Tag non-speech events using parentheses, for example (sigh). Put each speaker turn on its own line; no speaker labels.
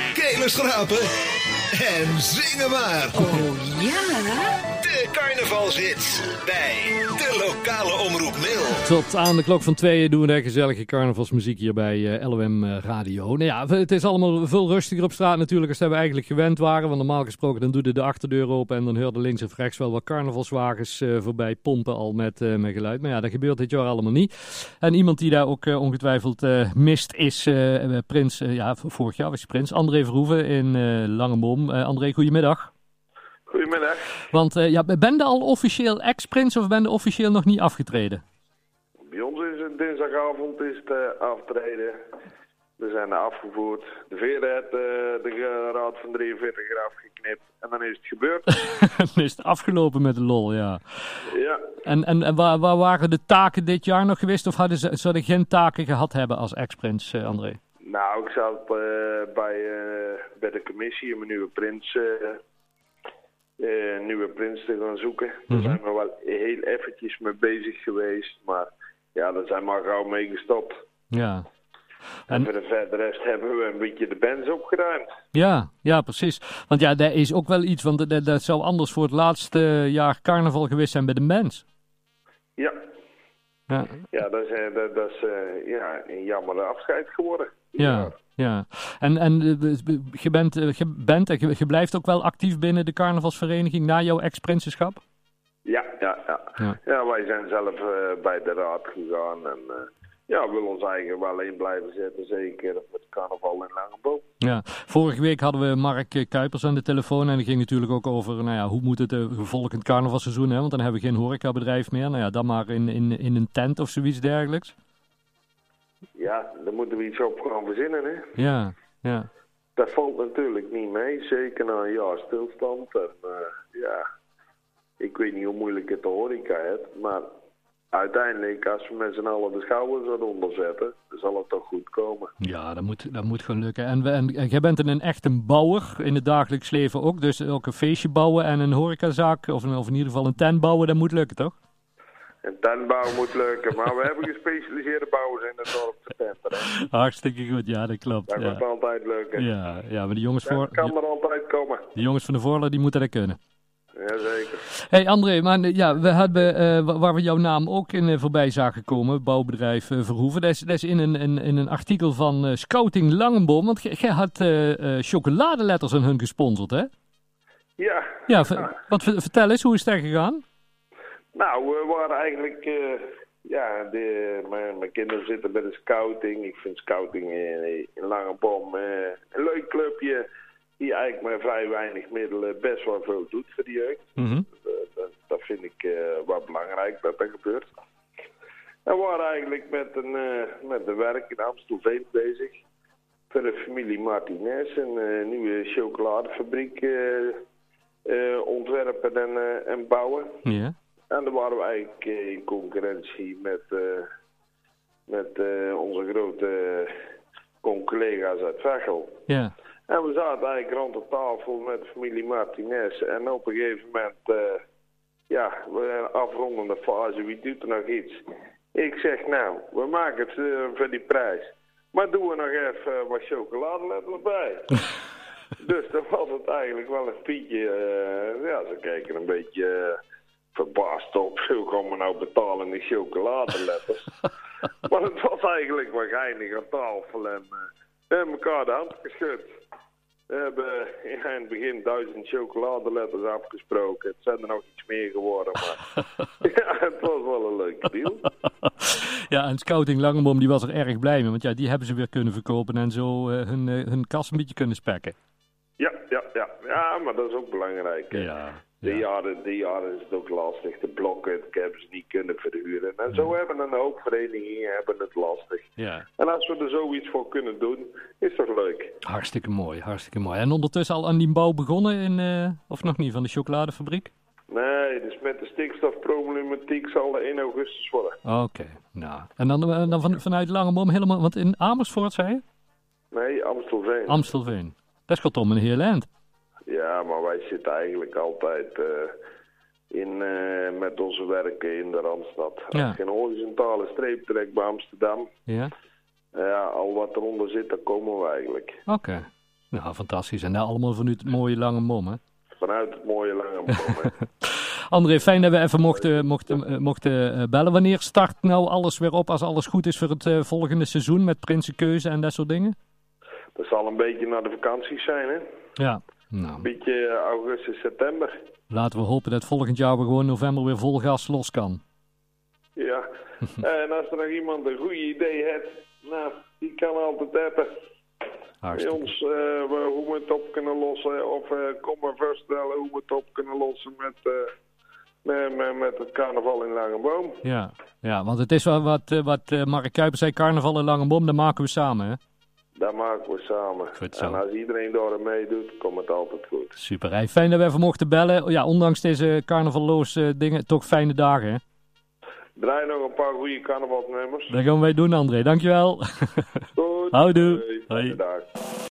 enkele schrapen en zingen maar.
Oh ja?
De carnavalshits bij de lokale omroep Mil.
Tot aan de klok van tweeën doen we de gezellige carnavalsmuziek hier bij eh, LOM eh, Radio. Nou ja, v- het is allemaal veel rustiger op straat natuurlijk als dat we eigenlijk gewend waren. Want normaal gesproken dan doe je de achterdeur open en dan hoorde links of rechts wel wat carnavalswagens eh, voorbij pompen al met, eh, met geluid. Maar ja, dat gebeurt dit jaar allemaal niet. En iemand die daar ook eh, ongetwijfeld eh, mist is eh, Prins, eh, ja v- vorig jaar was hij Prins, André Verhoeven in eh Langemom. Eh, André, goedemiddag.
Goedemiddag.
Want eh, ja, ben je al officieel ex-prins of ben je officieel nog niet afgetreden?
Bij ons is het dinsdagavond is het eh, aftreden. We zijn afgevoerd. De veren heeft eh, de eh, raad van 43 eraf geknipt. En dan is het gebeurd.
Dan (laughs) is het afgelopen met de lol, ja.
ja.
En, en, en waar, waar waren de taken dit jaar nog geweest? Of hadden ze, zouden geen taken gehad hebben als ex-prins, eh, André?
Nou, ik zat eh, bij, eh, bij de commissie om een nieuwe prins, eh, eh, nieuwe prins te gaan zoeken. Daar zijn we wel heel eventjes mee bezig geweest. Maar ja, daar zijn we al gauw mee gestopt.
Ja.
En
En-
voor de verder rest hebben we een beetje de bands opgeruimd.
Ja, ja, precies. Want ja, dat is ook wel iets, want dat, dat zou anders voor het laatste jaar carnaval geweest zijn bij de mens.
Ja,
Ja,
Ja, dat is, eh, dat, dat is eh, ja, een jammer afscheid geworden.
ja. ja. En, en eh, je, bent, eh, je, bent, en je je blijft ook wel actief binnen de carnavalsvereniging na jouw ex-prinsenschap?
Ja, ja, ja.
Ja.
ja. wij zijn zelf eh, bij de raad gegaan en eh, ja, we willen ons eigen wel in blijven zetten. Zeker met carnaval in Langeboom.
Ja, vorige week hadden we Mark eh, Kuipers aan de telefoon en die ging natuurlijk ook over nou ja, hoe moet het eh, volgend carnavalseizoen, hè? want dan hebben we geen horecabedrijf meer. Nou ja, dan maar in, in, in een tent of zoiets dergelijks.
Ja, daar moeten we iets op gaan verzinnen, hè.
Ja, ja.
Dat valt natuurlijk niet mee, zeker na een jaar stilstand. En eh, ja, ik weet niet hoe moeilijk het de horeca heeft, maar uiteindelijk als we met z'n allen de schouders eronder zetten, dan zal het toch goed komen.
Ja, dat moet, dat moet gewoon lukken. En, eh, we- en, en jij bent een, een echt een bouwer in het dagelijks leven ook. Dus ook een feestje bouwen en een horecazaak, of, een- of in ieder geval een tent bouwen, dat moet lukken, toch?
En tentbouw moet lukken, maar we hebben gespecialiseerde bouwers in het dorp te tenten. hè.
Hartstikke goed, ja, dat klopt.
Dat
Ja,
wordt altijd lukken.
ja, ja maar de jongens, voor,
Dat kan er altijd komen.
de jongens van de Voorla, die moeten dat kunnen.
Jazeker.
Hey André, maar eh, ja, we hebben, eh, wa- waar we jouw naam ook in eh, voorbij zagen komen, bouwbedrijf eh, Verhoeven, dat is, dat is in, een, in, in een artikel van eh, Scouting Langenboom, want jij jij had eh, eh, chocoladeletters aan hun gesponsord, hè?
Ja,
Ja, ver- want ver- vertel eens, hoe is dat gegaan?
nou, we waren eigenlijk... eh, ja, de, mijn, mijn kinderen zitten bij de scouting. Ik vind scouting in, in Langebom eh, een leuk clubje... die eigenlijk met vrij weinig middelen best wel veel doet voor de jeugd.
Mhm.
Eh, dat, dat vind ik eh, wel belangrijk dat dat gebeurt. En we waren eigenlijk met, een, eh, met de werk in Amstelveen bezig. Voor de familie Martinez, een eh, nieuwe chocoladefabriek eh, eh, ontwerpen en, eh, en bouwen.
Ja.
En daar waren we eigenlijk eh, in concurrentie met, eh, met eh, onze grote eh, collega's uit Vechel.
Ja. (laughs)
En we zaten eigenlijk rond de tafel met de familie Martinez. En op een gegeven moment, eh, ja, we zijn een afrondende fase. Wie doet er nog iets? Ik zeg, nou, we maken het eh, voor die prijs. Maar doen we nog even eh, wat chocoladeletters bij. dus dan was het eigenlijk wel een pietje. eh, ja, ze kijken een beetje eh, verbaasd op. (laughs) Zo gaan we nou betalen in die chocoladeletters. maar het was eigenlijk wel geinig aan tafel. En, eh, we hebben elkaar de hand geschud. We hebben ja, in het begin duizend chocoladeletters afgesproken. Het zijn er nog iets meer geworden,
(laughs)
maar ja, het was wel een leuke deal.
ja, en Scouting Langenboom die was er erg blij mee, want ja, die hebben ze weer kunnen verkopen en zo eh, hun, eh, hun kas een beetje kunnen spekken.
Ja, ja, ja. ja maar dat is ook belangrijk. hè.
Ja.
Die,
Ja.
jaren, die jaren is het ook lastig. De blokken ik heb ze niet kunnen verhuren. En zo hebben een hoop verenigingen hebben het lastig.
ja.
En als we er zoiets voor kunnen doen, is toch leuk.
Hartstikke mooi, hartstikke mooi. En ondertussen al aan die bouw begonnen, in, eh, of nog niet, van de chocoladefabriek?
Nee, dus met de stikstofproblematiek zal er 1 augustus worden.
Oké, nou. En dan, eh, dan van, vanuit Langemom helemaal, want in Amersfoort zei je?
Nee, Amstelveen.
Amstelveen. Dat is kortom een heel eind.
Ja, maar wij zitten eigenlijk altijd eh, in, eh, met onze werken in de Randstad.
Ja.
Als je een horizontale streep trekt bij Amsterdam,
Ja,
ja, al wat eronder zit, daar komen we eigenlijk.
oké. Nou, fantastisch. En daar allemaal vanuit het mooie lange mom, hè?
Vanuit het mooie lange moment.
André, fijn dat we even mochten, mochten, eh, mochten eh, bellen. Wanneer start nou alles weer op als alles goed is voor het eh, volgende seizoen met Prinsenkeuze en dat soort dingen?
Dat zal een beetje naar de vakanties zijn, hè?
Ja. Nou,
Beetje eh, augustus, september.
laten we hopen dat volgend jaar we gewoon november weer vol gas los kan.
Ja. en als er nog iemand een goed idee heeft, nou, die kan altijd appen. Bij
Hartstikke.
ons, eh, we- hoe we het op kunnen lossen. Of eh, kom maar voorstellen hoe we het op kunnen lossen met, eh, met, met, met het carnaval in Langeboom.
Ja. ja, want het is wel wat, eh, wat eh, Mark Kuiper zei, carnaval en lange bom, dat maken we samen, hè?
Dat maken we samen.
Goed zo.
en als iedereen daarin meedoet, komt het altijd goed.
Super, hè. fijn dat we even mochten bellen. Ja, ondanks deze carnavalloze eh, dingen, toch fijne dagen, hè?
Draai nog een paar goede carnavalnummers.
Dat gaan wij doen, André. Dankjewel.
Goed.
Houdoe.
Hey, fijne
Hoi.
dag.